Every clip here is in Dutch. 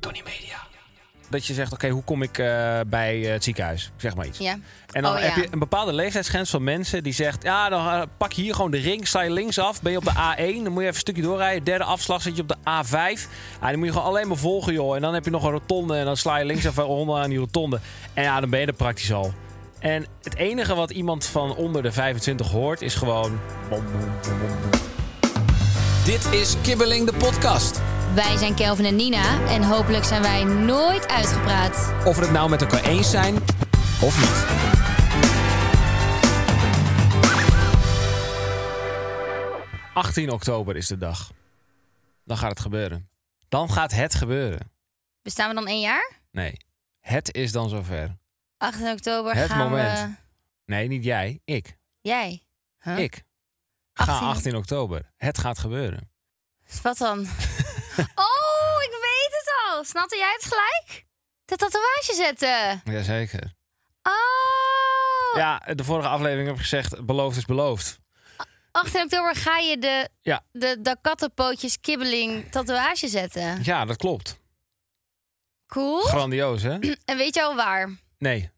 Tony Media. Dat je zegt, oké, hoe kom ik eh, bij eh, het ziekenhuis? Zeg maar iets. Ja. En dan Oh, heb ja. je een bepaalde leeftijdsgrens van mensen die zegt... ja, dan eh, pak je hier gewoon de ring, sta je linksaf, ben je op de A1... dan moet je even een stukje doorrijden, derde afslag zit je op de A5. Ja, dan moet je gewoon alleen maar volgen, joh. En dan heb je nog een rotonde en dan sla je linksaf en onder aan die rotonde. En ja, dan ben je er praktisch al. En het enige wat iemand van onder de 25 hoort is gewoon... Dit is Kibbeling, de podcast. Wij zijn Kelvin en Nina en hopelijk zijn wij nooit uitgepraat. Of we het nou met elkaar eens zijn of niet. ...18 oktober is de dag. Dan gaat het gebeuren. Dan gaat het gebeuren. Bestaan we dan één jaar? Nee, het is dan zover. 18 oktober Het gaan moment. we... Nee, niet jij, ik. Jij? Huh? Ik. Ga 18. 18 oktober. Het gaat gebeuren. Wat dan? oh, ik weet het al. Snapte jij het gelijk? De tatoeage zetten. Jazeker. Oh. Ja, de vorige aflevering heb ik gezegd... ...beloofd is beloofd. 18 oktober ga je de, Ja. de, de kattenpootjes kibbeling tatoeage zetten. Ja, dat klopt. Cool. Grandioos, hè? En weet je al waar? Nee. nee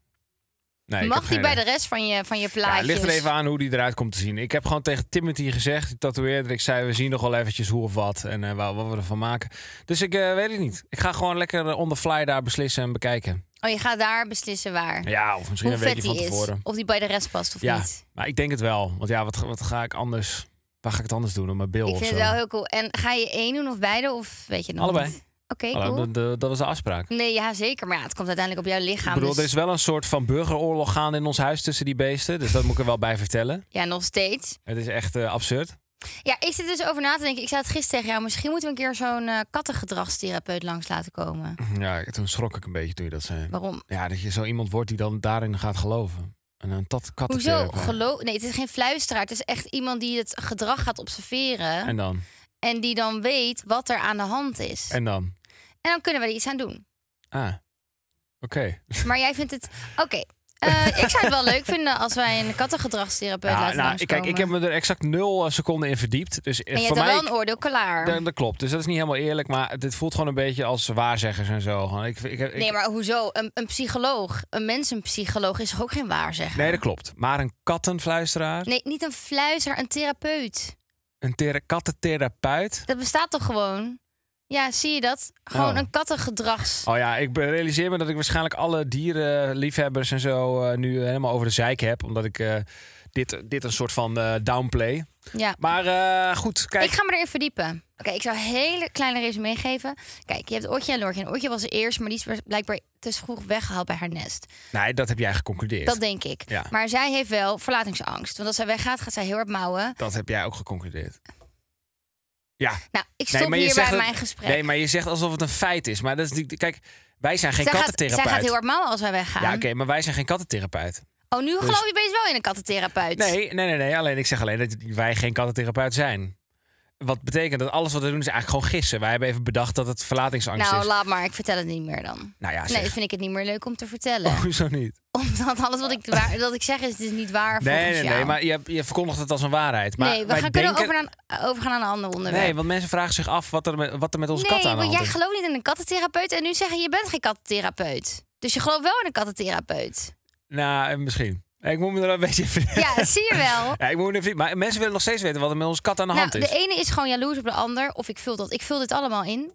ik heb Mag die geen bij idee. de rest van je, van je Ja, plaatjes? het ligt er even aan hoe die eruit komt te zien. Ik heb gewoon tegen Timothy gezegd, die tatoeëerder. Ik zei, we zien nog wel eventjes hoe of wat en eh, wa- wat we ervan maken. Dus ik eh, weet het niet. Ik ga gewoon lekker eh, on the fly daar beslissen en bekijken. Oh, je gaat daar beslissen waar. Ja, of misschien Hoe een weekje vet van die is. tevoren. Of die bij de rest past of ja, niet. maar ik denk het wel. Want ja, wat, wat ga ik anders... Waar ga ik het anders doen? Op mijn bil Ik of vind zo? het wel heel cool. En ga je één doen of beide? Of weet je het nog Allebei. niet? Oké, Hallo, cool. dat- dat- dat was de afspraak. Nee, ja, zeker. Maar ja, het komt uiteindelijk op jouw lichaam. Ik bedoel, dus- er is wel een soort van burgeroorlog gaande in ons huis tussen die beesten. Dus dat moet ik er wel bij vertellen. Ja, nog steeds. Het is echt eh, absurd. Ja, ik zit dus over na te denken. Ik zei het gisteren tegen jou. Misschien moeten we een keer zo'n eh, kattengedragstherapeut langs laten komen. Ja, toen schrok ik een beetje toen je dat zei. Waarom? Ja, dat je zo iemand wordt die dan daarin gaat geloven. En een tat kat Hoezo? Geloof... Nee, het is geen fluisteraar. Het is echt iemand die het gedrag gaat observeren. En, En dan? die dan weet wat er aan de hand is. En, En dan? dan kunnen we er iets aan doen. Ah, oké. Maar jij vindt het... Oké. Eh, ik zou het wel leuk vinden als wij een kattengedragstherapeut Ja, laten nou, langskomen. kijk, ik heb me er exact nul eh, seconden in verdiept. Dus eh, En je voor hebt al mij... wel een oordeel klaar. dat, dat klopt, dus dat is niet helemaal eerlijk. Maar dit voelt gewoon een beetje als waarzeggers en zo. Gewoon, Ik, ik, ik, Nee, maar hoezo? Een, een psycholoog, een mensenpsycholoog is toch ook geen waarzegger? Nee, dat klopt. Maar een kattenfluisteraar, Nee, niet een fluister, een therapeut. een thera- kattentherapeut... Dat bestaat toch gewoon? Ja, zie je dat? Gewoon Oh. een kattengedrags. Oh ja, ik be- realiseer me dat ik waarschijnlijk alle dierenliefhebbers en zo eh, nu helemaal over de zeik heb. Omdat ik eh, dit, dit een soort van eh, downplay. Ja. Maar eh, goed, kijk. Ik ga me erin verdiepen. Oké, ik zou een hele kleine resume meegeven. Kijk, je hebt Otje en Lortje. En Otje was er eerst, maar die is blijkbaar te vroeg weggehaald bij haar nest. Nee, dat heb jij geconcludeerd. Dat denk ik. Ja. Maar zij heeft wel verlatingsangst. Want als zij weggaat, gaat zij heel hard mouwen. Dat heb jij ook geconcludeerd. Ja. Nou, ik stop maar je hier bij zegt dat- mijn gesprek. Nee, maar je zegt alsof het een feit is. Maar dat is natuurlijk... Kijk, wij zijn geen zij, gaat, zij kattentherapeut. gaat heel hard mouwen als wij weggaan. Ja, oké, maar wij zijn geen kattentherapeut. Oh, nu geloof je bezig wel in een kattentherapeut. Dus- Nee, nee, nee, nee. Alleen ik zeg alleen dat wij geen kattentherapeut zijn. Wat betekent dat alles wat we doen is eigenlijk gewoon gissen. Wij hebben even bedacht dat het verlatingsangst Nou, is. laat maar. Ik vertel het niet meer dan. Nou ja, zeg. Nee, vind ik het niet meer leuk om te vertellen. Oh, Hoezo niet? Omdat alles wat ik, waar, dat ik zeg is, is niet waar Nee, volgens nee, jou. nee. Maar je, hebt- je verkondigt het als een waarheid. Maar nee, we wij gaan denken... kunnen over naar, overgaan naar een ander onderwerp. Nee, want mensen vragen zich af wat er met, wat er met onze Nee, kat aan de want hand jij is. gelooft niet in een kattentherapeut. En nu zeggen je bent geen kattentherapeut. Dus je gelooft wel in een kattentherapeut. Nou, eh, misschien. Ik moet me er een beetje... Ja, zie je wel. Ja, ik moet even, maar mensen willen nog steeds weten wat er met onze kat aan de Nou, hand is. de ene is gewoon jaloers op de ander. Of ik vul dat. Ik vul dit allemaal in.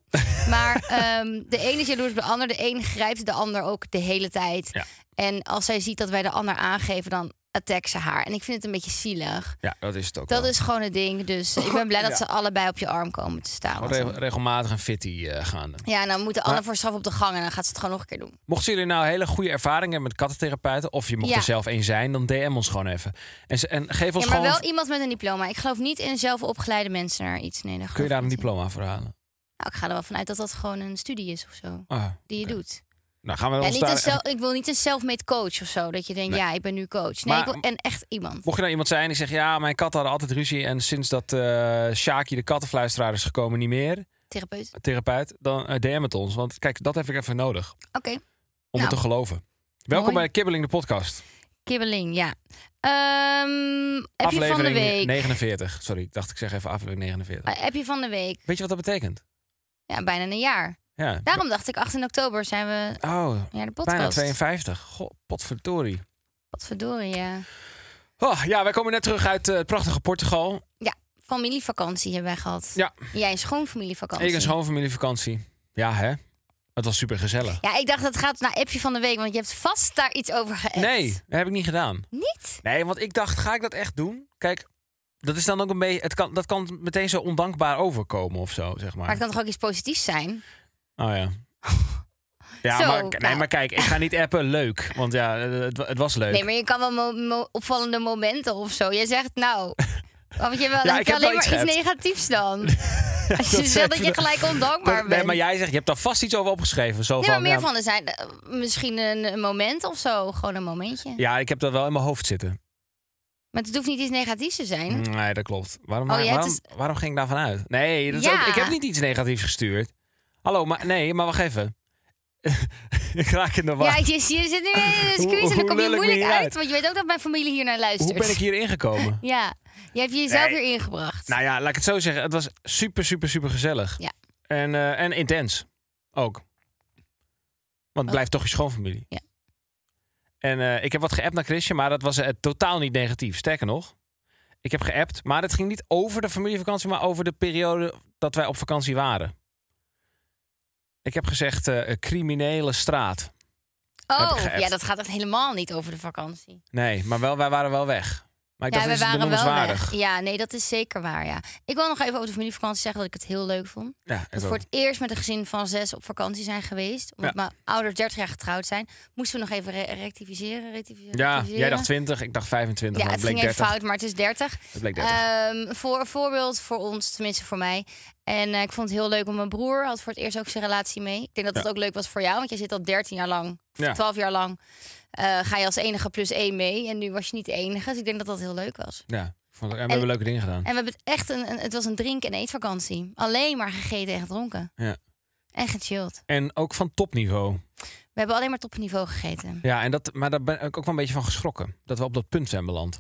Maar ehm, de ene is jaloers op de ander. De een grijpt de ander ook de hele tijd. Ja. En als zij ziet dat wij de ander aangeven, dan attack ze haar. En ik vind het een beetje zielig. Ja, dat is het ook Dat wel. is gewoon het ding. Dus ik ben blij dat Ja. ze allebei op je arm komen te staan. Gewoon Want regel- regelmatig een fitty eh, gaan. Ja, en dan moeten Anne voor straf op de gang en dan gaat ze het gewoon nog een keer doen. Mochten jullie nou hele goede ervaringen hebben met kattentherapeuten... of je mocht Ja. er zelf één zijn, dan DM ons gewoon even. En, ze- en geef ons Ja, maar gewoon... wel iemand met een diploma. Ik geloof niet in zelf opgeleide mensen naar iets. Nee, Kun je daar een diploma voor halen? Nou, ik ga er wel vanuit dat dat gewoon een studie is of zo. Ah, Die je oké. doet. Nou, gaan we Ja, ons niet daar... een zelf, ik wil niet een self-made coach of zo. Dat je denkt, ja, ik ben nu coach. Nee, Maar- ik wil en echt iemand. Mocht je nou iemand zijn die zegt... ja, mijn katten hadden altijd ruzie... en sinds dat eh Sjaakje de kattenfluisteraar is gekomen niet meer... Therapeut. therapeut, dan eh, DM het ons. Want kijk, dat heb ik even nodig Oké, om Nou. het te geloven. Welkom Mooi. bij Kibbeling, de podcast. kibbeling, ja. Ehm heb je van de aflevering week? 49. Sorry, ik dacht ik zeg even aflevering 49. Eh, Heb je van de week? Weet je wat dat betekent? Ja, bijna een jaar. Ja. Daarom dacht ik, 18 oktober zijn we Oh, naar de bijna podcast. 52. God, potverdorie. Wat verdorie, ja. Oh, ja, wij komen net terug uit eh, het prachtige Portugal. Familievakantie hebben wij gehad. Ja. Jij een schoonfamilievakantie. Ik een schoonfamilievakantie. Ja, hè? Het was super gezellig. Ja, ik dacht dat gaat naar appje van de week, want je hebt vast daar iets over geappt. Nee, dat heb ik niet gedaan. Niet? Nee, want ik dacht, ga ik dat echt doen? Kijk, dat is dan ook een beetje. Het kan, dat kan meteen zo ondankbaar overkomen of zo, zeg maar. Maar het kan toch ook iets positiefs zijn? Oh ja. Ja, Zo, maar, nee, nou. maar kijk, ik ga niet appen leuk. Want ja, het, wa- het was leuk. Nee, maar je kan wel mo- mo- opvallende momenten of zo. Jij zegt nou... Want je wel, Ja, dan ik heb je heb alleen wel maar iets iets geappt. negatiefs dan. Als Dat je zeg zegt dat je je dan. gelijk ondankbaar bent. nee, maar jij zegt, je hebt daar vast iets over opgeschreven. Zo Nee, van, maar meer ja, van, er zijn eh, misschien een, een moment of zo. Gewoon een momentje. Ja, ik heb dat wel in mijn hoofd zitten. Maar het hoeft niet iets negatiefs te zijn. Nee, dat klopt. Waarom, Oh, jij hebt waarom, waarom ging ik daarvan uit? Nee, dat is Ja. ook- ik heb niet iets negatiefs gestuurd. Hallo, maar nee, maar wacht even. ik raak in de war. Ja, je, je zit nu in een Hoe- excuus en hoe dan kom je lul ik me moeilijk hieruit? uit. Want je weet ook dat mijn familie hier naar luistert. Hoe ben ik hierin gekomen? Ja, je hebt jezelf Nee. weer ingebracht. Nou ja, laat ik het zo zeggen. Het was super, super, super gezellig. Ja. En, eh, en intens ook. Want het blijft toch je schoonfamilie. Ja. En eh, ik heb wat geappt naar Chrisje, maar dat was eh, totaal niet negatief. Sterker nog, ik heb geappt, maar het ging niet over de familievakantie, maar over de periode dat wij op vakantie waren. Ik heb gezegd eh, een criminele straat. heb ik oh, geappt. ja, dat gaat echt helemaal niet over de vakantie. Nee, maar wel, wij waren wel weg. Maar ik ja, dacht, we dit is benoemenswaardig. weg. Ja, nee, dat is zeker waar, ja. Ik wil nog even over de familievakantie zeggen dat ik het heel leuk vond. Ja, ik Dat we ook. voor het eerst met een gezin van zes op vakantie zijn geweest. Omdat mijn ouders 30 jaar getrouwd zijn. Moesten we nog even re- rectificeren, rectificeren. ja, jij rectificeren. dacht 20, ik dacht 25, Ja, maar het het ging bleek even 30. fout, maar het is 30. Het bleek 30. Ehm, voor, voorbeeld voor ons, tenminste voor mij. En eh, ik vond het heel leuk, want mijn broer had voor het eerst ook zijn relatie mee. Ik denk dat het ook leuk was voor jou, want jij zit al 13 jaar lang, of Ja. 12 jaar lang. eh, ga je als enige plus één mee. En nu was je niet de enige. Dus ik denk dat dat heel leuk was. Ja, ik vond het- en we hebben leuke dingen gedaan. En we hebben het echt een, een- het was een drink- en eetvakantie. Alleen maar gegeten en gedronken. Ja. En gechilled. En ook van topniveau. We hebben alleen maar topniveau gegeten. Ja, en dat, maar daar ben ik ook wel een beetje van geschrokken. Dat we op dat punt zijn beland.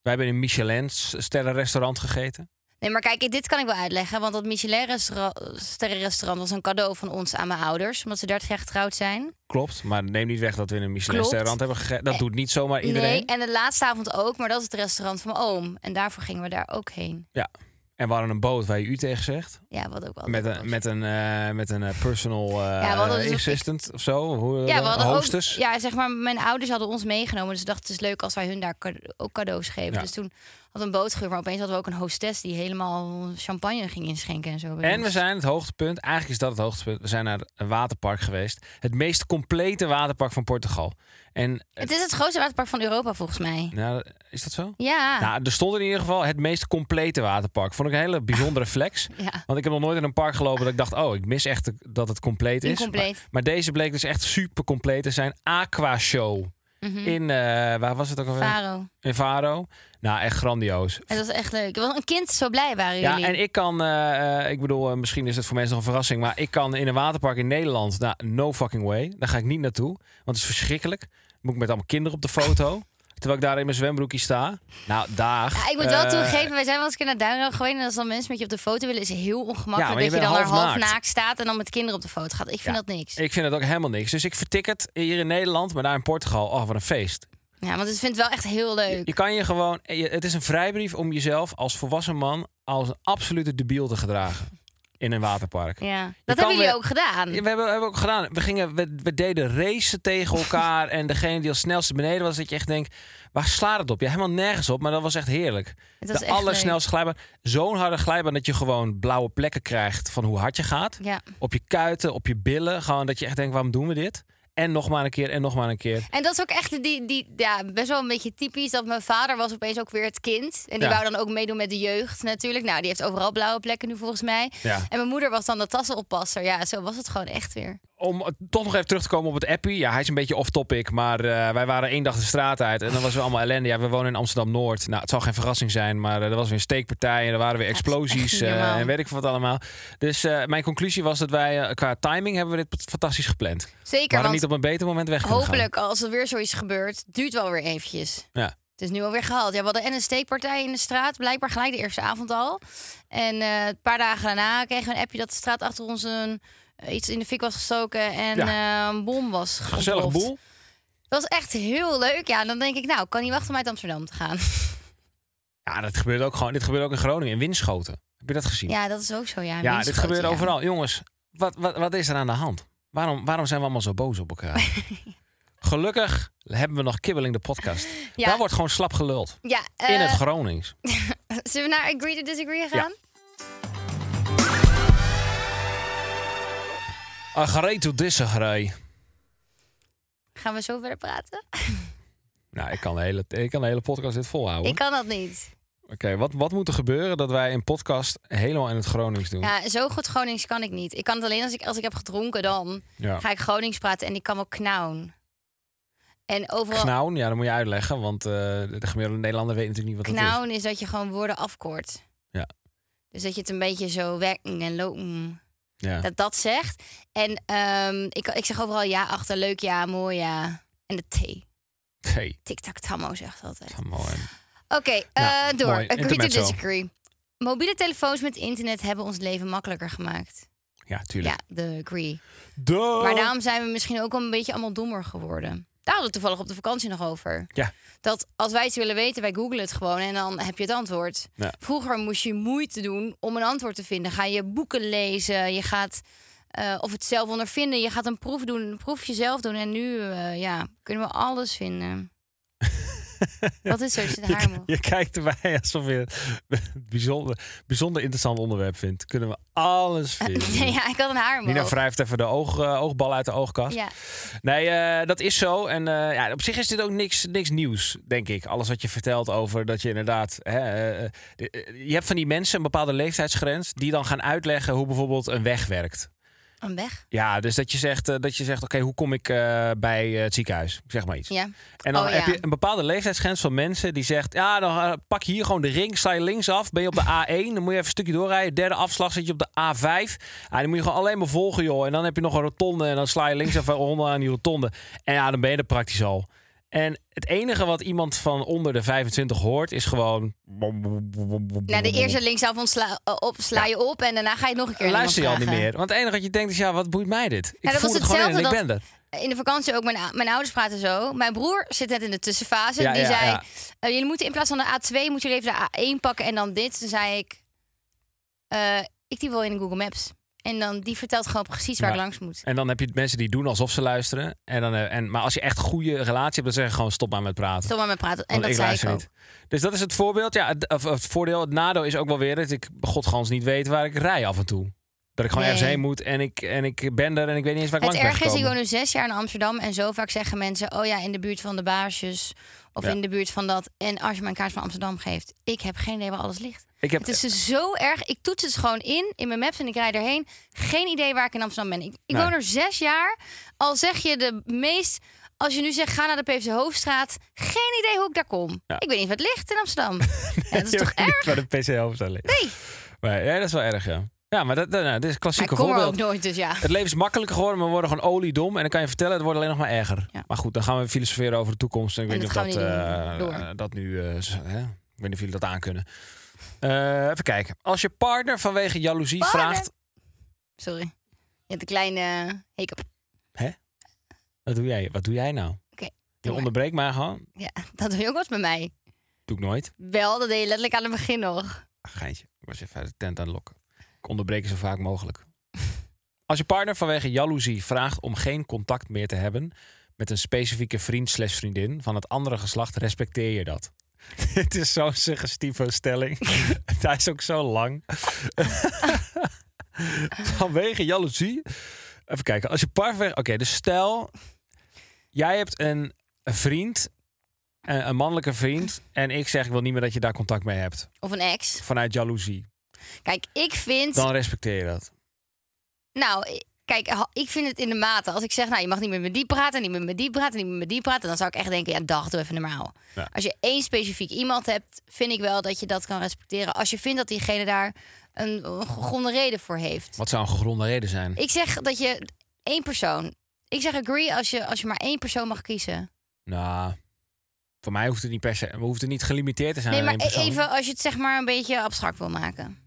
Wij hebben in een Michelin-sterrenrestaurant gegeten. Nee, maar kijk, dit kan ik wel uitleggen. Want dat Michelin-sterrenrestaurant was een cadeau van ons aan mijn ouders. Omdat ze 30 jaar getrouwd zijn. Klopt, maar neem niet weg dat we in een Klopt. Eh, Michelin-sterrenrestaurant hebben gegeten. Dat doet niet zomaar iedereen. Nee, eh- en de laatste avond ook, maar dat is het restaurant van mijn oom. En daarvoor gingen we daar ook heen. Ja. En we hadden een boot waar je u tegen zegt. Ja, wat ook wel. Met leuk een, Oh, was. met een, eh, met een eh, personal eh, we hadden dus ook- assistant of zo. Hoe, ja, we eh, hadden hostess. ook. Ja, zeg maar, mijn ouders hadden ons meegenomen. Dus ze dachten, het is leuk als wij hun daar cade- ook cadeaus geven. Ja. Dus toen had een bootgeur, maar opeens hadden we ook een hostess die helemaal champagne ging inschenken en zo. bij En ons. we zijn het hoogtepunt, eigenlijk is dat het hoogtepunt. We zijn naar een waterpark geweest. Het meest complete waterpark van Portugal. En Het is het grootste waterpark van Europa volgens mij. nou, is dat zo? Ja. Nou, er stond in ieder geval het meest complete waterpark. Vond ik een hele bijzondere flex. ja. Want ik heb nog nooit in een park gelopen dat ik dacht... oh, ik mis echt dat het compleet is. Incompleet. Maar, maar deze bleek dus echt super compleet te zijn. Aqua Show in... eh, waar was het ook alweer? Mhm. Faro. In Faro. Nou, echt grandioos. Het was echt leuk. Ik was een kind, zo blij waren Ja, jullie. en ik kan... eh, eh, ik bedoel, eh, misschien is het voor mensen nog een verrassing... maar ik kan in een waterpark in Nederland... Nou, no fucking way. Daar ga ik niet naartoe. Want het is verschrikkelijk. Dan moet ik met allemaal kinderen op de foto... terwijl ik daar in mijn zwembroekje sta. Nou, daag. Ja, ik moet wel Eh, toegeven, wij zijn wel eens een keer naar Duinrel geweest. En als dan mensen met je op de foto willen, is het heel Ja, ongemakkelijk. maar je dat je dan bent daar half half naakt. naakt staat en dan met kinderen op de foto gaat. Ik vind Ja. dat niks. Ik vind het ook helemaal niks. Dus ik vertik het hier in Nederland, maar daar in Portugal. Oh, wat een feest. Ja, want ik vind het wel echt heel leuk. Je kan je gewoon... je- Het is een vrijbrief om jezelf als volwassen man als een absolute debiel te gedragen. in een waterpark. Ja. kan Dat hebben jullie weer- ook gedaan. Ja, We hebben, hebben ook gedaan. We, gingen, we, we deden racen tegen elkaar. en degene die als snelste beneden was, dat je echt denkt: waar slaat het op? Ja, helemaal nergens op. Maar dat was echt heerlijk. Het was de echt allersnelste glijbaan. Zo'n harde glijbaan dat je gewoon blauwe plekken krijgt van hoe hard je gaat. Ja. Op je kuiten, op je billen. Gewoon dat je echt denkt: waarom doen we dit? En nog maar een keer en nog maar een keer. En dat is ook echt die, die, ja, best wel een beetje typisch. Dat mijn vader was opeens ook weer het kind. En die Ja. wou dan ook meedoen met de jeugd natuurlijk. Nou, die heeft overal blauwe plekken nu volgens mij. Ja. En mijn moeder was dan de tassenoppasser. Ja, zo was het gewoon echt weer. Om toch nog even terug te komen op het appie. Ja, hij is een beetje off-topic. Maar eh, wij waren één dag de straat uit. En dan was weer allemaal ellende. Ja, we wonen in Amsterdam-Noord. Nou, het zal geen verrassing zijn. Maar eh, er was weer een steekpartij. En er waren weer het is echt explosies. niet eh, normaal. en weet ik wat allemaal. Dus eh, mijn conclusie was dat wij eh, qua timing hebben we dit fantastisch gepland. we Zeker, hadden want niet op een beter moment weg kunnen gaan. hopelijk als er weer zoiets gebeurt, duurt wel weer eventjes. Ja. Het is nu alweer gehaald. Ja, we hadden en een steekpartij in de straat. Blijkbaar gelijk de eerste avond al. En eh, een paar dagen daarna kregen we een appje dat de straat achter ons een, eh, iets in de fik was gestoken. En Ja. eh, een bom was Gezellige ontploft. boel. Dat was echt heel leuk. Ja, en dan denk ik, nou, ik kan niet wachten om uit Amsterdam te gaan. Ja, dat gebeurt ook gewoon. Dit gebeurt ook in Groningen. In Winschoten. Heb je dat gezien? Ja, dat is ook zo. Ja, Ja, dit Winschoten, gebeurt ja. overal. Jongens, wat, wat, wat is er aan de hand? Waarom, waarom zijn we allemaal zo boos op elkaar? Gelukkig hebben we nog Kibbeling de podcast. Ja. Daar wordt gewoon slap geluld. Ja, In het eh, Gronings. zullen we naar agree to disagree gaan? Agree to disagree. Gaan we zo verder praten? Nou, ik kan de hele, ik kan de hele podcast dit volhouden. Ik kan dat niet. Oké, wat, wat moet er gebeuren dat wij een podcast helemaal in het Gronings doen? Ja, zo goed Gronings kan ik niet. Ik kan het alleen als ik, als ik heb gedronken dan. Ja. Ga ik Gronings praten en ik kan wel knauwen. En overal knauwen, Knauwen, ja, dat moet je uitleggen. Want eh, de gemiddelde Nederlander weet natuurlijk niet wat dat is. is. dat je gewoon woorden afkort. Ja. Dus dat je het een beetje zo wekken en lopen. Ja. Dat dat zegt. En ehm, ik, ik zeg overal ja achter, leuk ja, mooi ja. En de T. Hey, Tic-tac tammo zegt altijd. wat mooi. Oké, eh, door. mooi. Agree to Intermezzo. disagree. Mobiele telefoons met internet hebben ons leven makkelijker gemaakt. Ja, Ja, tuurlijk. de agree. Duh. Maar daarom zijn we misschien ook wel een beetje allemaal dommer geworden. Daar hadden we het toevallig op de vakantie nog over. Ja. Dat als wij iets willen weten, wij googlen het gewoon en dan heb je het antwoord. Ja. Vroeger moest je moeite doen om een antwoord te vinden. Ga je boeken lezen, je gaat eh, of het zelf ondervinden. Je gaat een proef doen, een proefje zelf doen. En nu eh, ja, kunnen we alles vinden. Wat is er tussen de Je, haarmel? je kijkt erbij alsof je het bijzonder, bijzonder interessant onderwerp vindt. Kunnen we alles vinden. Eh, ja, ik had een haarmel. Nina wrijft even de oog, eh, oogbal uit de oogkast. Ja. Nee, eh, dat is zo. En eh, ja, op zich is dit ook niks, niks nieuws, denk ik. Alles wat je vertelt over dat je inderdaad... Hè, eh, eh, de- eh, je hebt van die mensen een bepaalde leeftijdsgrens... die dan gaan uitleggen hoe bijvoorbeeld een weg werkt. Een weg? Ja, dus dat je zegt, eh, dat je zegt oké, hoe kom ik eh, bij eh, het ziekenhuis? Zeg maar iets. Ja. En dan Oh, heb ja. je een bepaalde leeftijdsgrens van mensen die zegt... ja, dan eh, pak je hier gewoon de ring, sta je linksaf, ben je op de A1... dan moet je even een stukje doorrijden, derde afslag zit je op de A5. Ja, dan moet je gewoon alleen maar volgen, joh. En dan heb je nog een rotonde en dan sla je linksaf onder aan die rotonde. En ja, dan ben je er praktisch al. En het enige wat iemand van onder de 25 hoort is gewoon... Nou, de eerste linksaf ontsla- eh, op, sla je op en daarna ga je nog een keer naar Luister je al iemand niet vragen. meer. Want het enige wat je denkt is, ja, wat boeit mij dit? Ik Ja, dat voel was het gewoon in en ik hetzelfde ben er. In de vakantie ook, mijn, ou- mijn ouders praten zo. Mijn broer zit net in de tussenfase. Ja, die ja, zei, ja. eh, jullie moeten in plaats van de A2, moeten jullie even de A1 pakken en dan dit. Toen zei ik, eh, ik die wel in Google Maps. En dan, die vertelt gewoon precies waar Ja. ik langs moet. En dan heb je mensen die doen alsof ze luisteren. En dan, eh, en, maar als je echt goede relatie hebt, dan zeggen ze gewoon stop maar met praten. Stop maar met praten. En Want dat zei ik luister ook. niet. Dus dat is het voorbeeld. Ja, het, of- of het voordeel, het nadeel is ook wel weer dat ik godgans niet weet waar ik rij af en toe. Dat ik gewoon Nee. ergens heen moet en ik, en ik ben er en ik weet niet eens waar ik het langs erg ben is, ik woon gekomen. nu zes jaar in Amsterdam. En zo vaak zeggen mensen, oh ja, in de buurt van de baasjes. Of Ja. in de buurt van dat. En als je mij een kaart van Amsterdam geeft. Ik heb geen idee waar alles ligt. Ik heb- Het is dus zo erg. Ik toets het gewoon in, in mijn maps en ik rij erheen. Geen idee waar ik in Amsterdam ben. Ik, ik Nee. woon er zes jaar. Al zeg je de meest... Als je nu zegt, ga naar de PVC Hoofdstraat. Geen idee hoe ik daar kom. Ja. Ik weet niet wat ligt in Amstram. Ja, dat is Je toch weet niet erg? Waar de PC helft aan ligt. Nee, Maar, ja, dat is wel erg, ja. Ja, maar dat, dat, nou, dit is een maar ik klassieke kom er ook voorbeeld. nooit, dus ja. Het leven is makkelijker geworden, maar we worden gewoon oliedom. En dan kan je vertellen, het wordt alleen nog maar erger. Ja. Maar goed, dan gaan we filosoferen over de toekomst. En ik En weet dat niet of dat, gaan we eh, niet doen. Door. eh, dat nu... eh, z- hè? Ik weet niet of jullie dat aankunnen. Eh even kijken. Als je partner vanwege jaloezie Partner. vraagt... Sorry. Je hebt een kleine hiccup. Wat doe jij, wat doe jij nou? Oké, je doe maar. onderbreekt mij gewoon. Ja, dat doe je ook wel eens bij mij. Doe ik nooit. Wel, dat deed je letterlijk aan het begin nog. Ach, Geintje. Ik was even uit de tent aan het lokken. Ik onderbreek zo vaak mogelijk. Als je partner vanwege jaloezie vraagt om geen contact meer te hebben met een specifieke vriend slash vriendin van het andere geslacht, respecteer je dat. Dit is zo'n suggestieve stelling. Hij is ook zo lang. vanwege jaloezie. Even kijken. Als je partner. Oké, dus stel. Jij hebt een, een vriend. Een, een mannelijke vriend. En ik zeg: Ik wil niet meer dat je daar contact mee hebt. Of een ex. Vanuit jaloezie. Kijk, ik vind... Dan respecteer je dat. Nou, ik- kijk, ha- ik vind het in de mate. Als ik zeg, nou, je mag niet meer met die praten, niet meer met die praten, niet meer met die praten, dan zou ik echt denken, ja, dag, doe even normaal. Ja. Als je één specifiek iemand hebt, vind ik wel dat je dat kan respecteren. Als je vindt dat diegene daar een, een gegronde reden voor heeft. Wat zou een gegronde reden zijn? Ik zeg dat je één persoon. Ik zeg agree als je, als je maar één persoon mag kiezen. Nou, voor mij hoeft het niet per se. We hoeft het niet gelimiteerd te zijn. nee, aan maar één persoon. even als je het zeg maar een beetje abstract wil maken.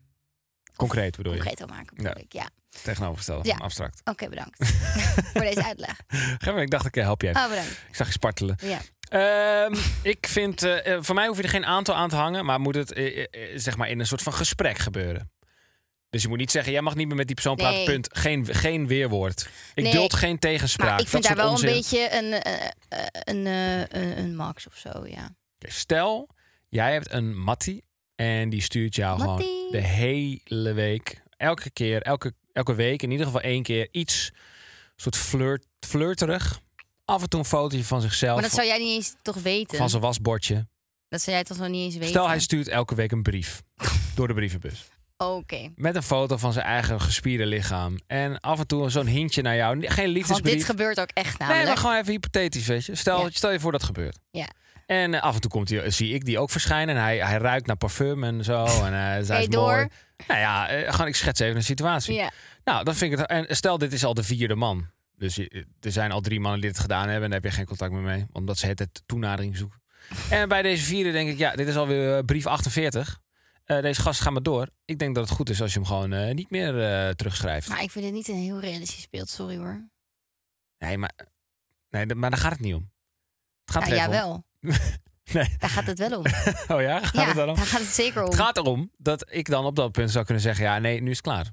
Concreet bedoel je? Concreet wil maken, bedoel Ja. ik. Ja. Tegenovergesteld. Ja. Abstract. Oké, bedankt. voor deze uitleg. Gerben, Ik dacht, ik eh, help je even. Oh, bedankt. Ik zag je spartelen. Ja. Ehm, ik vind, eh, eh, voor mij hoef je er geen aantal aan te hangen, maar moet het eh, eh, eh, zeg maar in een soort van gesprek gebeuren. Dus je moet niet zeggen, jij mag niet meer met die persoon praten, Nee. punt. Geen, geen weerwoord. Ik Nee. duld geen tegenspraak. Maar ik vind Dat daar soort wel onzin. een beetje een, eh, eh, een, eh, een, een max of zo, ja. Oké, Stel, jij hebt een mattie en die stuurt jou gewoon Mattie. de hele week, elke keer, elke, elke week, in ieder geval één keer iets, soort flirt, flirterig. Af en toe een fotootje van zichzelf, Maar dat zou jij niet eens toch weten? van zijn wasbordje. Dat zou jij toch nog niet eens weten? Stel, hij stuurt elke week een brief door de brievenbus. Oké. Met een foto van zijn eigen gespierde lichaam. En af en toe zo'n hintje naar jou. Geen Want dit liefdesbrief. gebeurt ook echt nee, namelijk. maar gewoon even hypothetisch, weet je. Stel, Nou, Ja. stel je voor dat gebeurt. Ja. En eh, af en toe komt hij, zie ik die ook verschijnen. En hij, hij ruikt naar parfum en zo. En eh, hij is Hey, door. mooi. Nou ja, eh, gewoon, ik schets even een situatie. Ja. Nou, dan vind ik het... En stel, dit is al de vierde man. Dus je- er zijn al drie mannen die dit gedaan hebben. En daar heb je geen contact meer mee. Omdat ze het toenadering zoeken. En bij deze vierde denk ik, ja, dit is alweer eh, brief 48. Eh, deze gast gaat maar door. Ik denk dat het goed is als je hem gewoon eh, niet meer eh, terugschrijft. Maar ik vind dit niet een heel realistisch beeld, sorry hoor. Nee, maar, nee, d- maar daar gaat het niet om. Het gaat Nou Ja, er even om. jawel. Nee. Daar gaat het wel om. Oh ja? Gaat ja, het daarom? daar gaat het zeker om. Het gaat erom dat ik dan op dat punt zou kunnen zeggen... ja, nee, nu is het klaar.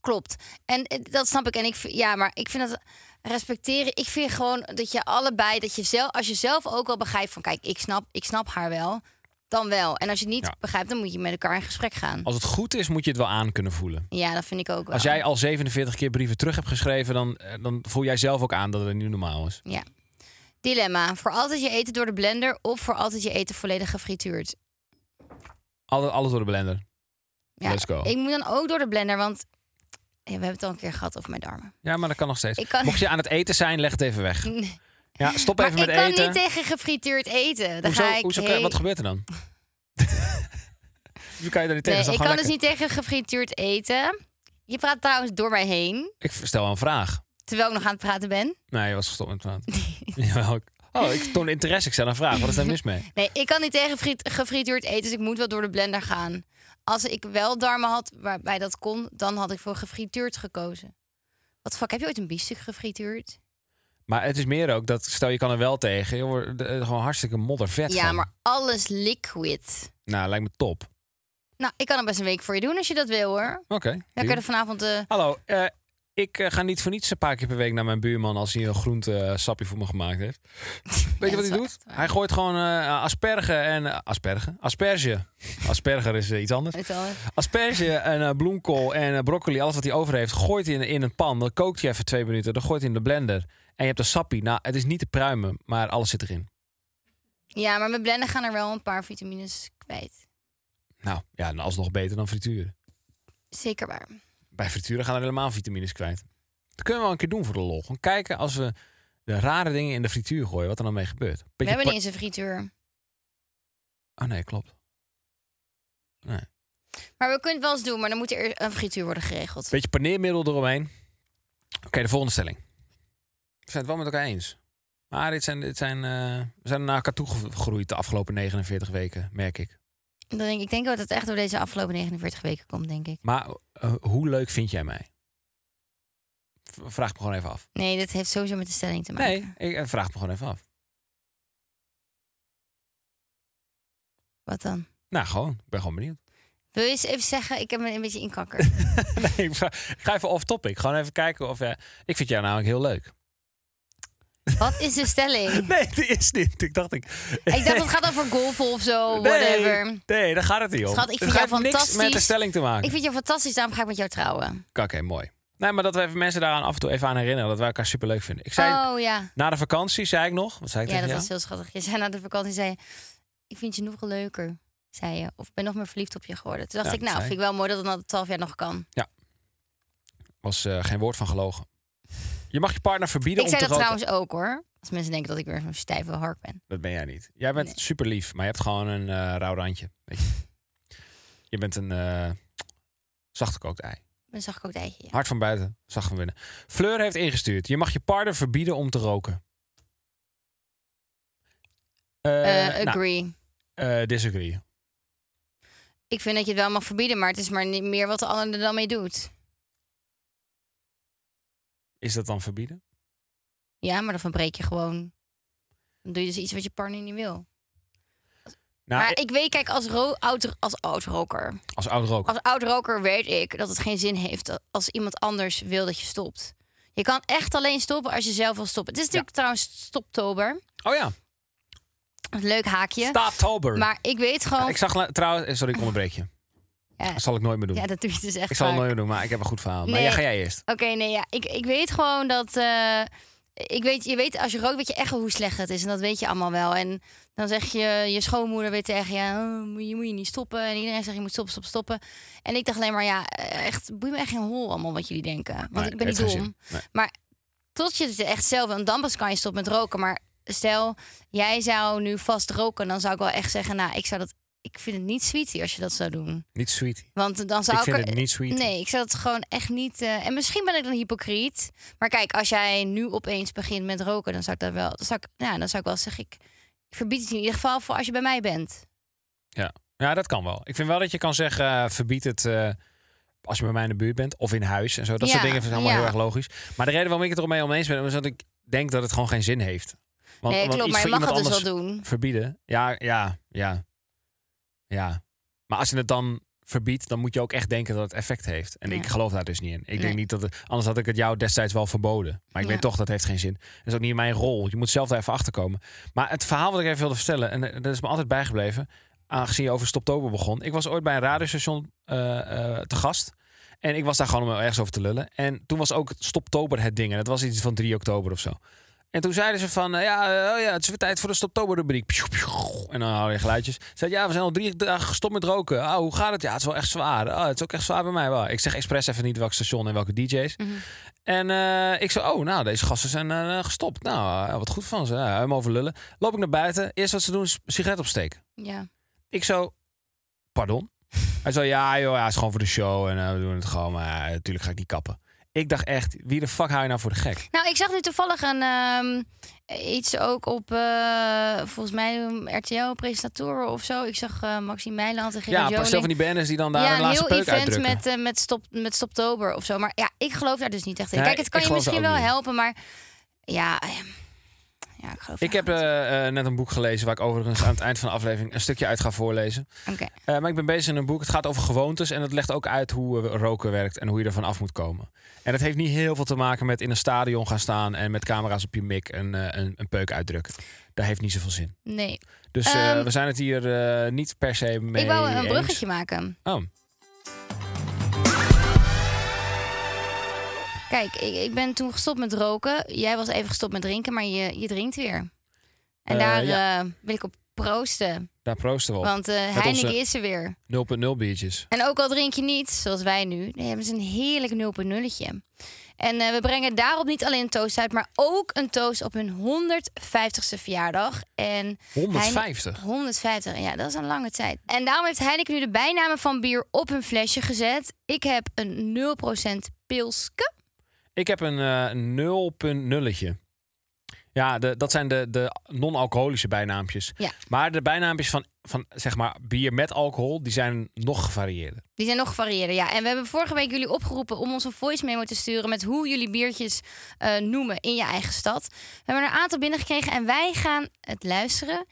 Klopt. En eh, dat snap ik. En ik, v- ja, maar ik vind dat respecteren. Ik vind gewoon dat je allebei, dat je zelf, als je zelf ook wel begrijpt van, kijk, ik snap, ik snap haar wel, dan wel. En als je het niet Ja. begrijpt, dan moet je met elkaar in gesprek gaan. Als het goed is, moet je het wel aan kunnen voelen. Ja, dat vind ik ook wel. Als jij al 47 keer brieven terug hebt geschreven... dan, eh, dan voel jij zelf ook aan dat het nu normaal is. Ja. Dilemma: voor altijd je eten door de blender of voor altijd je eten volledig gefrituurd. Alles, alles door de blender. Ja, Let's go. Ik moet dan ook door de blender, want ja, we hebben het al een keer gehad over mijn darmen. Ja, maar dat kan nog steeds. Ik kan- Mocht je aan het eten zijn, leg het even weg. Nee. Ja, stop Maar even ik met kan eten. niet tegen gefrituurd eten. Dan hoezo, ga ik hoezo kan- heel- Wat gebeurt er dan? Hoe kan je daar niet tegen? Nee, Is dat ik kan gewoon dus lekker? niet tegen gefrituurd eten. Je praat trouwens door mij heen, Ik stel een vraag. terwijl ik nog aan het praten ben. Nee, je was gestopt met praten. Jawel, ik- Oh, ik toon interesse. Ik stel een vraag. Wat is daar mis mee? Nee, ik kan niet tegen friet- gefrituurd eten, dus ik moet wel door de blender gaan. Als ik wel darmen had waarbij dat kon, dan had ik voor gefrituurd gekozen. Wat de fuck, heb je ooit een biefstuk gefrituurd? Maar het is meer ook dat, stel je kan er wel tegen. Je wordt er gewoon hartstikke moddervet Ja, van. maar alles liquid. Nou, lijkt me top. Nou, ik kan het best een week voor je doen als je dat wil hoor. Oké. Ja, deal. kan er vanavond... eh, Hallo, eh, ik eh, ga niet voor niets een paar keer per week naar mijn buurman als hij een groente eh, sapje voor me gemaakt heeft. Weet je wat dat is hij wel doet? echt waar. Hij gooit gewoon eh, asperge en eh, asperge, asperge. Asperger is eh, iets anders. weet je wel. Asperge en eh, bloemkool en eh, broccoli, alles wat hij over heeft, gooit hij in, in een pan. Dan kookt hij even twee minuten, dan gooit hij in de blender. En je hebt een sappie. Nou, het is niet te pruimen, maar alles zit erin. ja, maar met blenden gaan er wel een paar vitamines kwijt. Nou, ja, en alsnog beter dan frituren. Zeker waar. Bij frituren gaan er helemaal vitamines kwijt. Dat kunnen we wel een keer doen voor de lol. Gewoon kijken als we de rare dingen in de frituur gooien, wat er dan mee gebeurt. Beetje We hebben pa- niet eens een frituur. Oh nee, klopt. Maar we kunnen het wel eens doen, maar dan moet er eerst een frituur worden geregeld. Beetje paneermiddel eromheen. Oké, de volgende stelling. We zijn het wel met elkaar eens. Maar dit zijn, dit zijn, eh, we zijn naar elkaar toegegroeid de afgelopen 49 weken, merk ik. Dan denk ik, ik denk wel dat het echt door deze afgelopen 49 weken komt, denk ik. Maar eh, hoe leuk vind jij mij? V- Vraag me gewoon even af. Nee, dat heeft sowieso met de stelling te maken. Nee, ik, eh, vraag me gewoon even af. Wat dan? Nou, gewoon. Ik ben gewoon benieuwd. Wil je eens even zeggen, ik heb me een beetje inkakker. Nee, ik ga even off topic. Gewoon even kijken of. eh, ik vind jou namelijk heel leuk. Wat is de stelling? Nee, die is niet. Ik dacht ik. Ik dacht, het gaat over golven of zo, Oh, whatever. Nee, nee, daar gaat het niet om. Schat, ik Het vind heeft jou niks met de fantastisch. stelling te maken. Ik vind jou fantastisch, daarom ga ik met jou trouwen. Oké, mooi. Nee, maar dat we even mensen daaraan af en toe even aan herinneren. Dat wij elkaar superleuk vinden. Ik zei, Oh ja. na de vakantie zei ik nog. Wat zei ik Ja, dat tegen was jou? heel schattig. Je zei na de vakantie, zei je, ik vind je nog leuker, zei je. Of ik ben nog meer verliefd op je geworden. Toen dacht Ja, ik, dat nou, zei vind ik wel mooi dat het na 12 jaar nog kan. Was eh, geen woord van gelogen. Je mag je partner verbieden ik om zei te dat roken. trouwens ook hoor. Als mensen denken dat ik weer zo'n stijve hark ben. Dat ben jij niet. Jij bent Nee. super lief, maar je hebt gewoon een eh rauw randje. Weet je. je bent een eh zachtgekookt ei. Dan zag ik ook het eitje. ja. Hard van buiten, zacht van binnen. Fleur heeft ingestuurd. Je mag je partner verbieden om te roken. Eh, Eh, nou, agree. eh, disagree. Ik vind dat je het wel mag verbieden, maar het is maar niet meer wat de ander er dan mee doet. Is dat dan verbieden? Ja, maar dan verbreek je gewoon. Dan doe je dus iets wat je partner niet wil. Nou, maar ik weet, kijk, als, ro- oud, als oud-roker. als oud roker. Als oud-roker weet ik dat het geen zin heeft als iemand anders wil dat je stopt. Je kan echt alleen stoppen als je zelf wil stoppen. Het is natuurlijk trouwens stoptober. Oh ja, Een leuk haakje. Staattober. Maar ik weet gewoon... Ik zag la- trouwens... eh, Sorry, ik onderbreek je. Ja. Dat zal ik nooit meer doen. Ja, dat doe je dus echt ik zal het vaak. nooit meer doen, maar ik heb een goed verhaal. Maar Nee. ja, ga jij eerst. Oké, nee, ja. Ik, ik weet gewoon dat... eh, ik weet, je weet, als je rookt, weet je echt wel hoe slecht het is. En dat weet je allemaal wel. En dan zeg je je schoonmoeder weer tegen je... "Oh, moet je moet je niet stoppen. En iedereen zegt, je moet stoppen, stoppen, stoppen. En ik dacht alleen maar, ja, eh, echt, boeit me echt geen hol allemaal wat jullie denken. Want Nee, ik ben niet heeft geen dom. zin. Nee. Maar tot je het echt zelf... wil, En dan pas kan je stoppen met roken. Maar stel, jij zou nu vast roken. Dan zou ik wel echt zeggen, nou, ik zou dat... Ik vind het niet sweetie als je dat zou doen. Niet sweetie. Want dan zou Ik ik, vind er- het niet sweet. Nee, ik zou het gewoon echt niet. eh, en misschien ben ik dan hypocriet. Maar kijk, als jij nu opeens begint met roken, dan zou ik dat wel. Dan zou ik, nou, dan zou ik wel zeggen, ik, ik verbied het in ieder geval voor als je bij mij bent. Ja. ja, dat kan wel. Ik vind wel dat je kan zeggen, eh, verbied het eh, als je bij mij in de buurt bent. Of in huis en zo. Dat Ja, soort dingen vind ik allemaal ja. heel erg logisch. Maar de reden waarom ik het ermee oneens ben, is dat ik denk dat het gewoon geen zin heeft. Want, nee, want klopt. iets Maar je voor mag het iemand dus wel anders doen. verbieden. Ja, ja, ja. Ja. Maar als je het dan verbiedt, dan moet je ook echt denken dat het effect heeft. En Ja. ik geloof daar dus niet in. Ik Nee. denk niet dat het, anders had ik het jou destijds wel verboden. Maar ik Ja. weet toch, dat heeft geen zin. Dat is ook niet mijn rol. Je moet zelf daar even achter komen. Maar het verhaal wat ik even wilde vertellen, en eh, dat is me altijd bijgebleven, aangezien je over Stoptober begon. Ik was ooit bij een radiostation eh, eh, te gast. En ik was daar gewoon om ergens over te lullen. En toen was ook Stoptober het ding. En dat was iets van 3 oktober of zo. En toen zeiden ze van, eh, ja, eh, oh ja, het is weer tijd voor de stoptoberrubriek. Psjoe, psjoe. En dan houden je geluidjes. Zeiden, ja, we zijn al drie dagen gestopt met roken. Ah, hoe gaat het? Ja, het is wel echt zwaar. Ah, het is ook echt zwaar bij mij. Wel. Ik zeg expres even niet welk station en welke DJ's. En eh, ik zei, oh, nou, deze gasten zijn eh, gestopt. Nou, eh, wat goed van ze. Ja, helemaal over lullen. Loop ik naar buiten. Eerst wat ze doen is sigaret opsteken. Ja. Ik zo, pardon? Hij zo, ja joh, ja, het is gewoon voor de show en eh, we doen het gewoon. Maar eh, natuurlijk ga ik niet kappen. Ik dacht echt, wie de fuck hou je nou voor de gek? Nou, ik zag nu toevallig een, ehm, iets ook op, eh, volgens mij, RTL-presentatoren of zo. Ik zag eh Maxime Meiland en Ja, Gerard een paar stel van Joling. die banners die dan daar ja, een een laatste heel peuk event uitdrukken. met, eh, met, stop, met Stoptober of zo. Maar ja, ik geloof daar dus niet echt in. Nee, Kijk, het kan ik je geloof daar misschien ook wel niet in. helpen, maar ja, eh, ja ik geloof Ik daar heb gewoon eh, eh, net een boek gelezen waar ik overigens aan het eind van de aflevering een stukje uit ga voorlezen. niet. Oké. Eh, maar ik ben bezig in een boek. Het gaat over gewoontes en het legt ook uit hoe eh, roken werkt en hoe je ervan af moet komen. En dat heeft niet heel veel te maken met in een stadion gaan staan en met camera's op je mik een, eh, een, een peuk uitdrukken. Daar heeft niet zoveel zin. Nee, Dus eh, Ehm, we zijn het hier eh, niet per se mee ik wou een eens. bruggetje maken. Oh, Kijk, ik, ik ben toen gestopt met roken. Jij was even gestopt met drinken, maar je, je drinkt weer. Eh, En daar ja. eh, wil ik op proosten, daar proosten we op. want eh Met Heineken onze- is er weer. 0.0 biertjes. En ook al drink je niet, zoals wij nu, dan hebben ze een heerlijk 0.0'tje. En eh, we brengen daarop niet alleen een toast uit, maar ook een toast op hun 150ste verjaardag. En 150. Heine- 150, ja, dat is een lange tijd. En daarom heeft Heineken nu de bijnamen van bier op hun flesje gezet. Ik heb een 0% pilske. Ik heb een eh 0.0'tje. Ja, de, dat zijn de, de non-alcoholische bijnaampjes. Ja. Maar de bijnaampjes van, van zeg maar, bier met alcohol, die zijn nog gevarieerder. Die zijn nog gevarieerder, ja. En we hebben vorige week jullie opgeroepen om ons een voice memo te sturen... met hoe jullie biertjes eh, noemen in je eigen stad. We hebben er een aantal binnengekregen en wij gaan het luisteren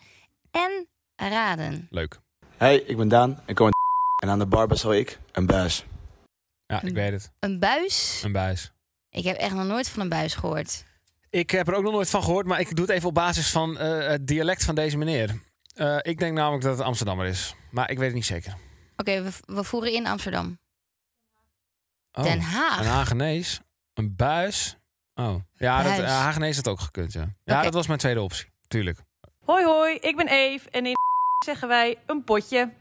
en raden. Leuk. Hey, ik ben Daan. Ik kom uit En aan de barber zal ik een buis. Ja, Mm. ik weet het. Een buis? Een buis. Ik heb echt nog nooit van een buis gehoord. Ik heb er ook nog nooit van gehoord, maar ik doe het even op basis van eh, het dialect van deze meneer. Eh, ik denk namelijk dat het Amsterdammer is, maar ik weet het niet zeker. Oké, we, we voeren in Amsterdam. Oh, Den Haag. Een Hagenees, een buis. Oh, ja, dat, Buis. eh, Hagenees had ook gekund, ja. Ja, Oké. dat was mijn tweede optie, tuurlijk. Hoi hoi, ik ben Eve en in zeggen wij een potje.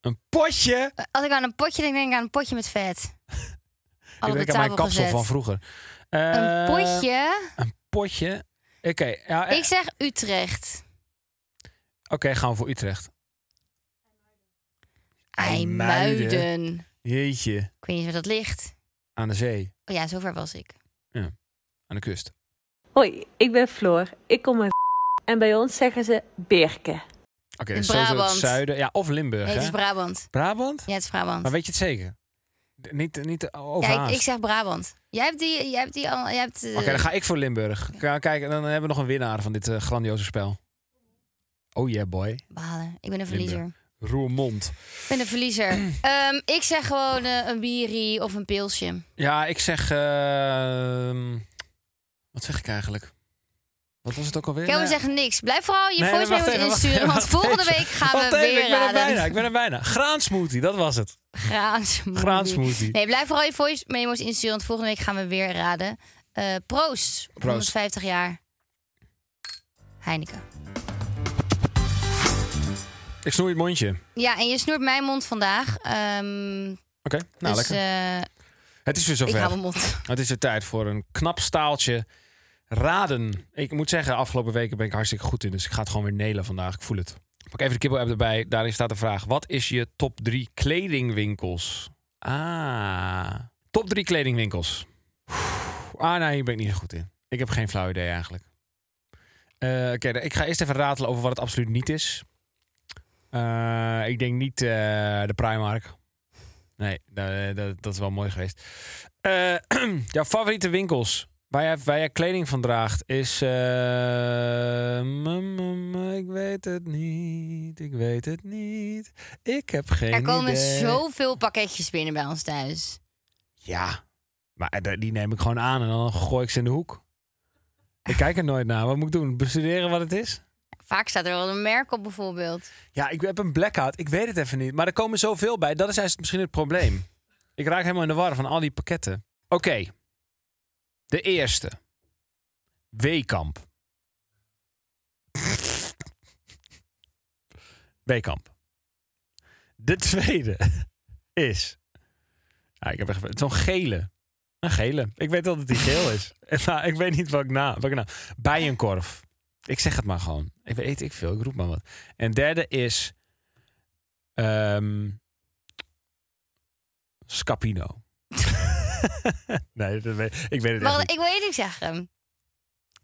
Een potje! Eh, Als ik aan een potje denk, denk ik aan een potje met vet. Al op ik denk aan de mijn tafel kapsel gezet. van vroeger. een Eh, potje? Een potje. Oké, ja, eh, Ik zeg Utrecht. oké, gaan we voor Utrecht. IJmuiden. IJmuiden. Jeetje, Ik weet niet waar dat ligt. aan de zee, Oh ja, zover was ik. aan de kust. Hoi, ik ben Floor. Ik kom uit en bij ons zeggen ze Birken. Oké, In dus sowieso het Brabant. zuiden. Ja, of Limburg, Nee, het hè? is Brabant. Brabant? Ja, het is Brabant. Maar weet je het zeker? D- Niet, niet over Ja, ik, ik zeg Brabant. Jij hebt die, jij hebt die al, jij hebt. eh, Oké, dan ga ik voor Limburg. K- Kijk, dan hebben we nog een winnaar van dit eh, grandioze spel. Oh yeah, boy. Balen. Ik ben een verliezer. Roermond. Ik ben een verliezer. Ehm, ik zeg gewoon eh, een bierie of een pilsje. Ja, ik zeg... ehm, wat zeg ik eigenlijk? Wat was het ook alweer? Kelvin Nou ja. zegt niks. Blijf vooral je Nee, voice wacht memos even, wacht insturen, even, want wacht volgende even. week gaan we Wacht even, weer ik ben er bijna, raden. ik ben er bijna. Graansmoothie, dat was het. Graansmoedie. Graansmoothie. Nee, blijf vooral je voice memos insturen, want volgende week gaan we weer raden. Eh, proost. Proost. 150 jaar. Heineken. Ik snoei het mondje. Oké, Ja, en je snoert mijn mond vandaag. Ehm, nou dus lekker. eh, het is weer ik zover. hou mijn mond. Het is weer tijd voor een knap staaltje raden. Ik moet zeggen, afgelopen weken ben ik hartstikke goed in. Dus ik ga het gewoon weer nelen vandaag. Ik voel het. Ik Pak even de kibbel app erbij. Daarin staat de vraag. Wat is je top 3 kledingwinkels? Ah. Top 3 kledingwinkels. Oeh, Ah, nou, hier ben ik niet zo goed in. Ik heb geen flauw idee eigenlijk. Eh, Oké, ik ga eerst even ratelen over wat het absoluut niet is. Eh, ik denk niet eh, de Primark. Nee, dat, dat, dat is wel mooi geweest. Eh, jouw favoriete winkels waar jij, waar jij kleding van draagt is. eh, mm, mm, mm, ik weet het niet. Ik weet het niet. Ik heb geen. Er komen idee. zoveel pakketjes binnen bij ons thuis. Ja, maar eh, die neem ik gewoon aan en dan gooi ik ze in de hoek. Ik kijk er nooit naar. Wat moet ik doen? Bestuderen wat het is? Vaak staat er wel een merk op bijvoorbeeld. Ja, ik heb een blackout. Ik weet het even niet. Maar er komen zoveel bij. Dat is juist misschien het probleem. Ik raak helemaal in de war van al die pakketten. Oké. De eerste. Weekamp. Weekamp. De tweede is... Ja, ik heb echt... Zo'n gele. Een gele. Ik weet wel dat die geel is. Maar ik weet niet welk naam. Welke naam. Bijenkorf. Ik zeg het maar gewoon. Ik weet ik veel. Ik roep maar wat. En derde is ehm, Scapino. nee, dat weet, ik weet het echt Maar niet. ik wil je niet zeggen.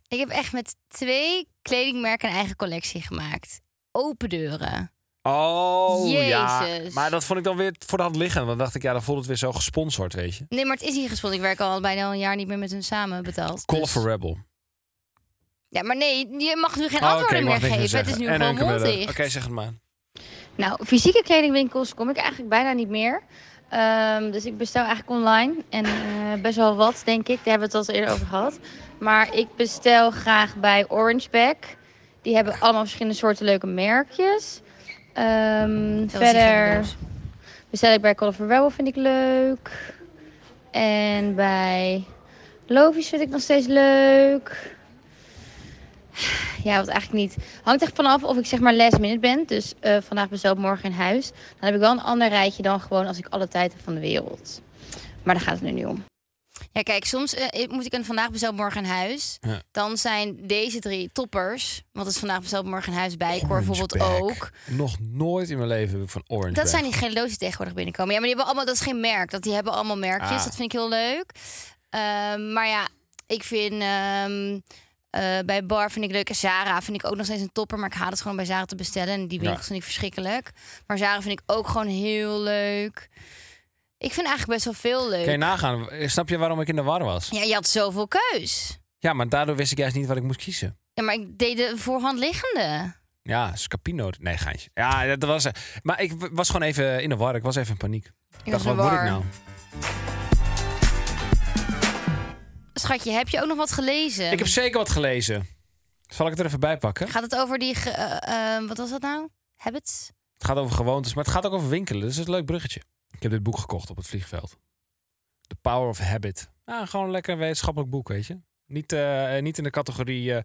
Ik heb echt met twee kledingmerken een eigen collectie gemaakt. Open deuren. Oh, ja. Jezus. Maar dat vond ik dan weer voor de hand liggen. Want dan dacht ik, ja, dan voelt het weer zo gesponsord, weet je. Nee, maar het is niet gesponsord. Ik werk al bijna een jaar niet meer met hun samen betaald. Call Dus- for Rebel. Ja, maar nee, je mag nu geen Oh, antwoorden oké, mag meer niks geven. Het is zeggen. nu En gewoon Anke Muller. mondig. Oké, zeg het maar. Nou, fysieke kledingwinkels kom ik eigenlijk bijna niet meer. Ehm, dus ik bestel eigenlijk online. En eh, best wel wat, denk ik. Daar hebben we het al eens eerder over gehad. Maar ik bestel graag bij Orangeback. Die hebben allemaal verschillende soorten leuke merkjes. Ehm, verder bestel ik bij Call for Rebel, vind ik leuk. En bij Lovies vind ik nog steeds leuk. Ja, wat eigenlijk niet. Hangt echt vanaf of ik zeg maar last minute ben. Dus eh, vandaag bestel ik morgen in huis. Dan heb ik wel een ander rijtje dan gewoon als ik alle tijd heb van de wereld. Maar daar gaat het nu niet om. Ja, kijk, soms eh, moet ik een vandaag bestel morgen in huis. Ja. Dan zijn deze drie toppers. Want het is vandaag bestel morgen in huis bij. Ik hoor bijvoorbeeld Orangeback. ook. Nog nooit in mijn leven heb ik van Orange Dat zijn diegene loodjes die tegenwoordig binnenkomen. Ja, maar die hebben allemaal, dat is geen merk. Dat die hebben allemaal merkjes. Ah. Dat vind ik heel leuk. Ehm, maar ja, ik vind ehm, eh, bij Bar vind ik leuk. En Zara vind ik ook nog steeds een topper. Maar ik haat het gewoon bij Zara te bestellen. En die Ja. winkels vind ik verschrikkelijk. Maar Zara vind ik ook gewoon heel leuk. Ik vind eigenlijk best wel veel leuk. Kun je nagaan, snap je waarom ik in de war was? Ja. Ja, je had zoveel keus. maar daardoor wist ik juist niet wat ik moest kiezen. Ja, maar ik deed de voorhand liggende. Ja, Scapino. Nee, geintje. Ja, dat was... eh, Maar ik w- was gewoon even in de war. Ik was even in paniek. Ik dacht, was wat in de word ik war. nou? Schatje, heb je ook nog wat gelezen? Ik heb zeker wat gelezen. Zal ik het er even bij pakken? Gaat het over die... ge- eh, eh, wat was dat nou? Habits? Het gaat over gewoontes, maar het gaat ook over winkelen. Dus het is een leuk bruggetje. Ik heb dit boek gekocht op het vliegveld. The Power of Habit. Ja, gewoon een lekker wetenschappelijk boek, weet je. Niet, eh, eh, niet in de categorie, eh,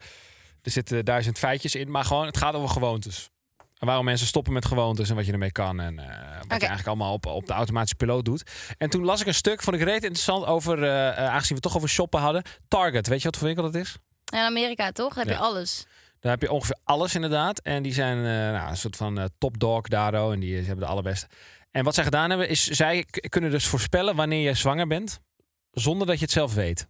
er zitten duizend feitjes in, maar gewoon, het gaat over gewoontes. En waarom mensen stoppen met gewoontes en wat je ermee kan. En eh, wat je eigenlijk allemaal op, op de automatische piloot doet. En toen las ik een stuk, vond ik reet interessant, over, eh, eh, aangezien we het toch over shoppen hadden. Target, weet je wat voor winkel dat is? In Amerika, toch? Daar heb Ja. je alles. Daar heb je ongeveer alles inderdaad. En die zijn eh, nou, een soort van eh, top dog daardoor. En die eh, ze hebben de allerbeste. En wat zij gedaan hebben, is zij k- kunnen dus voorspellen wanneer je zwanger bent. Zonder dat je het zelf weet.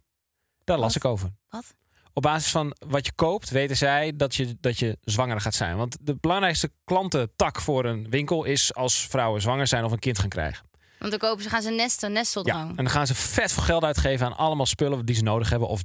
Daar las Wat? ik over. Wat? Op basis van wat je koopt, weten zij dat je, dat je zwanger gaat zijn. Want de belangrijkste klantentak voor een winkel is als vrouwen zwanger zijn of een kind gaan krijgen. Want dan kopen ze, gaan ze nesten, Ja. nesteldrang. En dan gaan ze vet veel geld uitgeven aan allemaal spullen die ze nodig hebben of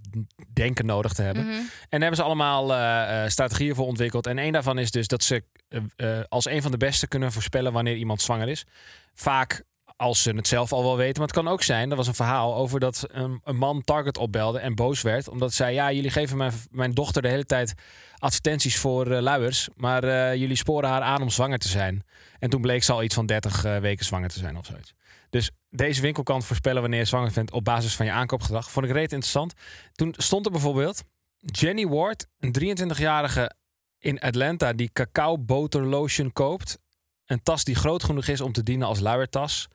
denken nodig te hebben. Mhm. En daar hebben ze allemaal eh, eh, strategieën voor ontwikkeld. En één daarvan is dus dat ze eh, eh, als een van de beste kunnen voorspellen wanneer iemand zwanger is. Vaak als ze het zelf al wel weten. Maar het kan ook zijn, er was een verhaal over dat een, een man Target opbelde en boos werd. Omdat zij, ja, jullie geven mijn, mijn dochter de hele tijd advertenties voor eh, luiers. Maar eh, jullie sporen haar aan om zwanger te zijn. En toen bleek ze al iets van 30 eh, weken zwanger te zijn of zoiets. Dus deze winkel kan voorspellen wanneer je zwanger bent op basis van je aankoopgedrag. Vond ik reet interessant. Toen stond er bijvoorbeeld Jenny Ward, een 23-jarige in Atlanta die cacao boter lotion koopt. Een tas die groot genoeg is om te dienen als luiertas.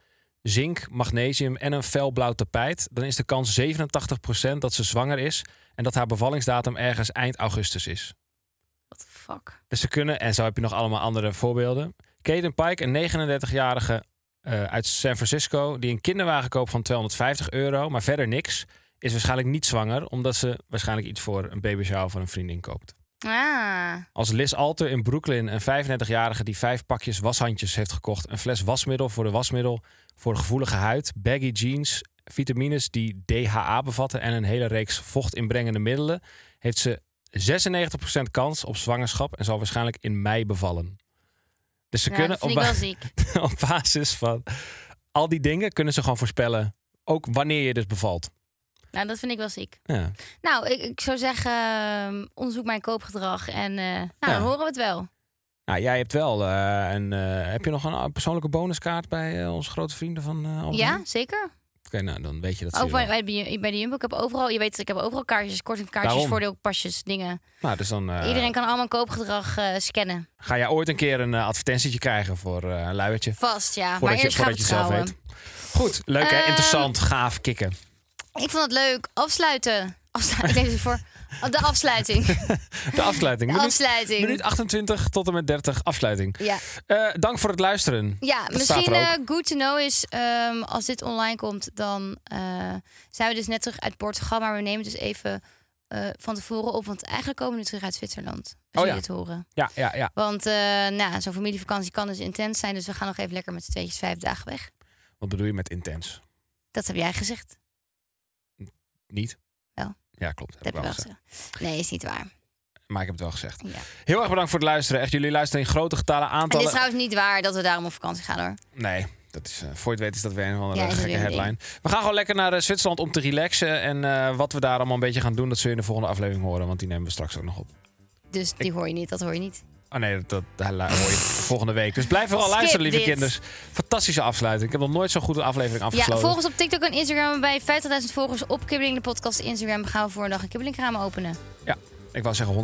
Zink, magnesium en een felblauw tapijt. Dan is de kans 87% dat ze zwanger is. En dat haar bevallingsdatum ergens eind augustus is. What the fuck? Dus ze kunnen, en zo heb je nog allemaal andere voorbeelden. Caden Pike, een 39-jarige eh, uit San Francisco, die een kinderwagen koopt van 250 euro, maar verder niks, is waarschijnlijk niet zwanger, omdat ze waarschijnlijk iets voor een babyshower van een vriendin koopt. Ah, Als Liz Alter in Brooklyn, een 35-jarige die vijf pakjes washandjes heeft gekocht, een fles wasmiddel voor de wasmiddel, voor de gevoelige huid, baggy jeans, vitamines die DHA bevatten en een hele reeks vochtinbrengende middelen, heeft ze 96% kans op zwangerschap en zal waarschijnlijk in mei bevallen. Dus ze ja, kunnen dat op, vind ik ba- wel ziek. op basis van al die dingen kunnen ze gewoon voorspellen, ook wanneer je dus bevalt. Nou, dat vind ik wel ziek. Ja. Nou, ik, ik zou zeggen, ehm, onderzoek mijn koopgedrag en eh, nou, Ja. dan horen we het wel. Nou, jij hebt wel eh, een. eh, heb je nog een eh, persoonlijke bonuskaart bij eh, onze grote vrienden van eh, Albert Heijn? Ja, zeker. Oké, nou dan weet je dat. Ook ze bij, wel. bij, de- bij de Jumbo. Ik heb overal, je weet, ik heb overal kaartjes, kortingkaartjes, Daarom. voordeelpasjes, dingen. Nou, dus dan eh, Iedereen kan allemaal koopgedrag eh, scannen. ga jij ooit een keer een eh, advertentietje krijgen voor eh, een luiertje. Vast, ja. Maar Voordat je, eerst gaan we voordat je het het zelf trouwen. weet. Goed, leuk hè? Ehm, Interessant, gaaf, kicken. Ik vond het leuk. Afsluiten. Afsluiten. Ik lees het voor. Oh, De afsluiting. De afsluiting. De Minuut, afsluiting. minuut 28 tot en met 30, afsluiting. Ja. Eh, dank voor het luisteren. Ja, Dat staat misschien er ook. eh, good to know is, ehm, als dit online komt, dan eh, zijn we dus net terug uit Portugal. Maar we nemen het dus even eh, van tevoren op, want eigenlijk komen we nu terug uit Zwitserland. Als Oh jullie ja. het horen. Ja, ja, ja. Want eh, nou, zo'n familievakantie kan dus intens zijn, dus we gaan nog even lekker met z'n tweetjes vijf dagen weg. Wat bedoel je met intens? Dat heb jij gezegd. Niet? Wel. Ja, klopt. Dat heb je ik wel wel gezegd. Nee, is niet waar. gezegd. Maar ik heb het wel gezegd. Ja. Heel erg bedankt voor het luisteren. Echt, jullie luisteren in grote getalen En het aantallen. is trouwens niet waar dat we daarom op vakantie gaan hoor. Nee, dat is, eh, voor je het weet is dat weer een of andere Ja, is dat gekke weer een ding. headline. We gaan gewoon lekker naar eh, Zwitserland om te relaxen. En eh, wat we daar allemaal een beetje gaan doen, dat zul je in de volgende aflevering horen. Want die nemen we straks ook nog op. Dus die hoor je niet, dat hoor je niet. Oh nee, dat, dat daar lu- hoor je volgende week. Dus blijf vooral Skip luisteren, lieve dit. kinders. Fantastische afsluiting. Ik heb nog nooit zo'n goede aflevering afgesloten. Ja, volg ons op TikTok en Instagram. Bij 50.000 volgers op Kibbeling, de podcast Instagram, gaan we voor een dag een Kibbelingkraam openen. Ja, ik wou zeggen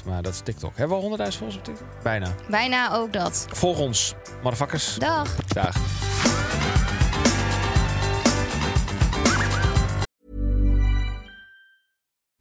100.000, maar dat is TikTok. Hebben we al 100.000 volgers op TikTok? Bijna. Bijna ook dat. Volg ons, motherfuckers. Dag. Dag.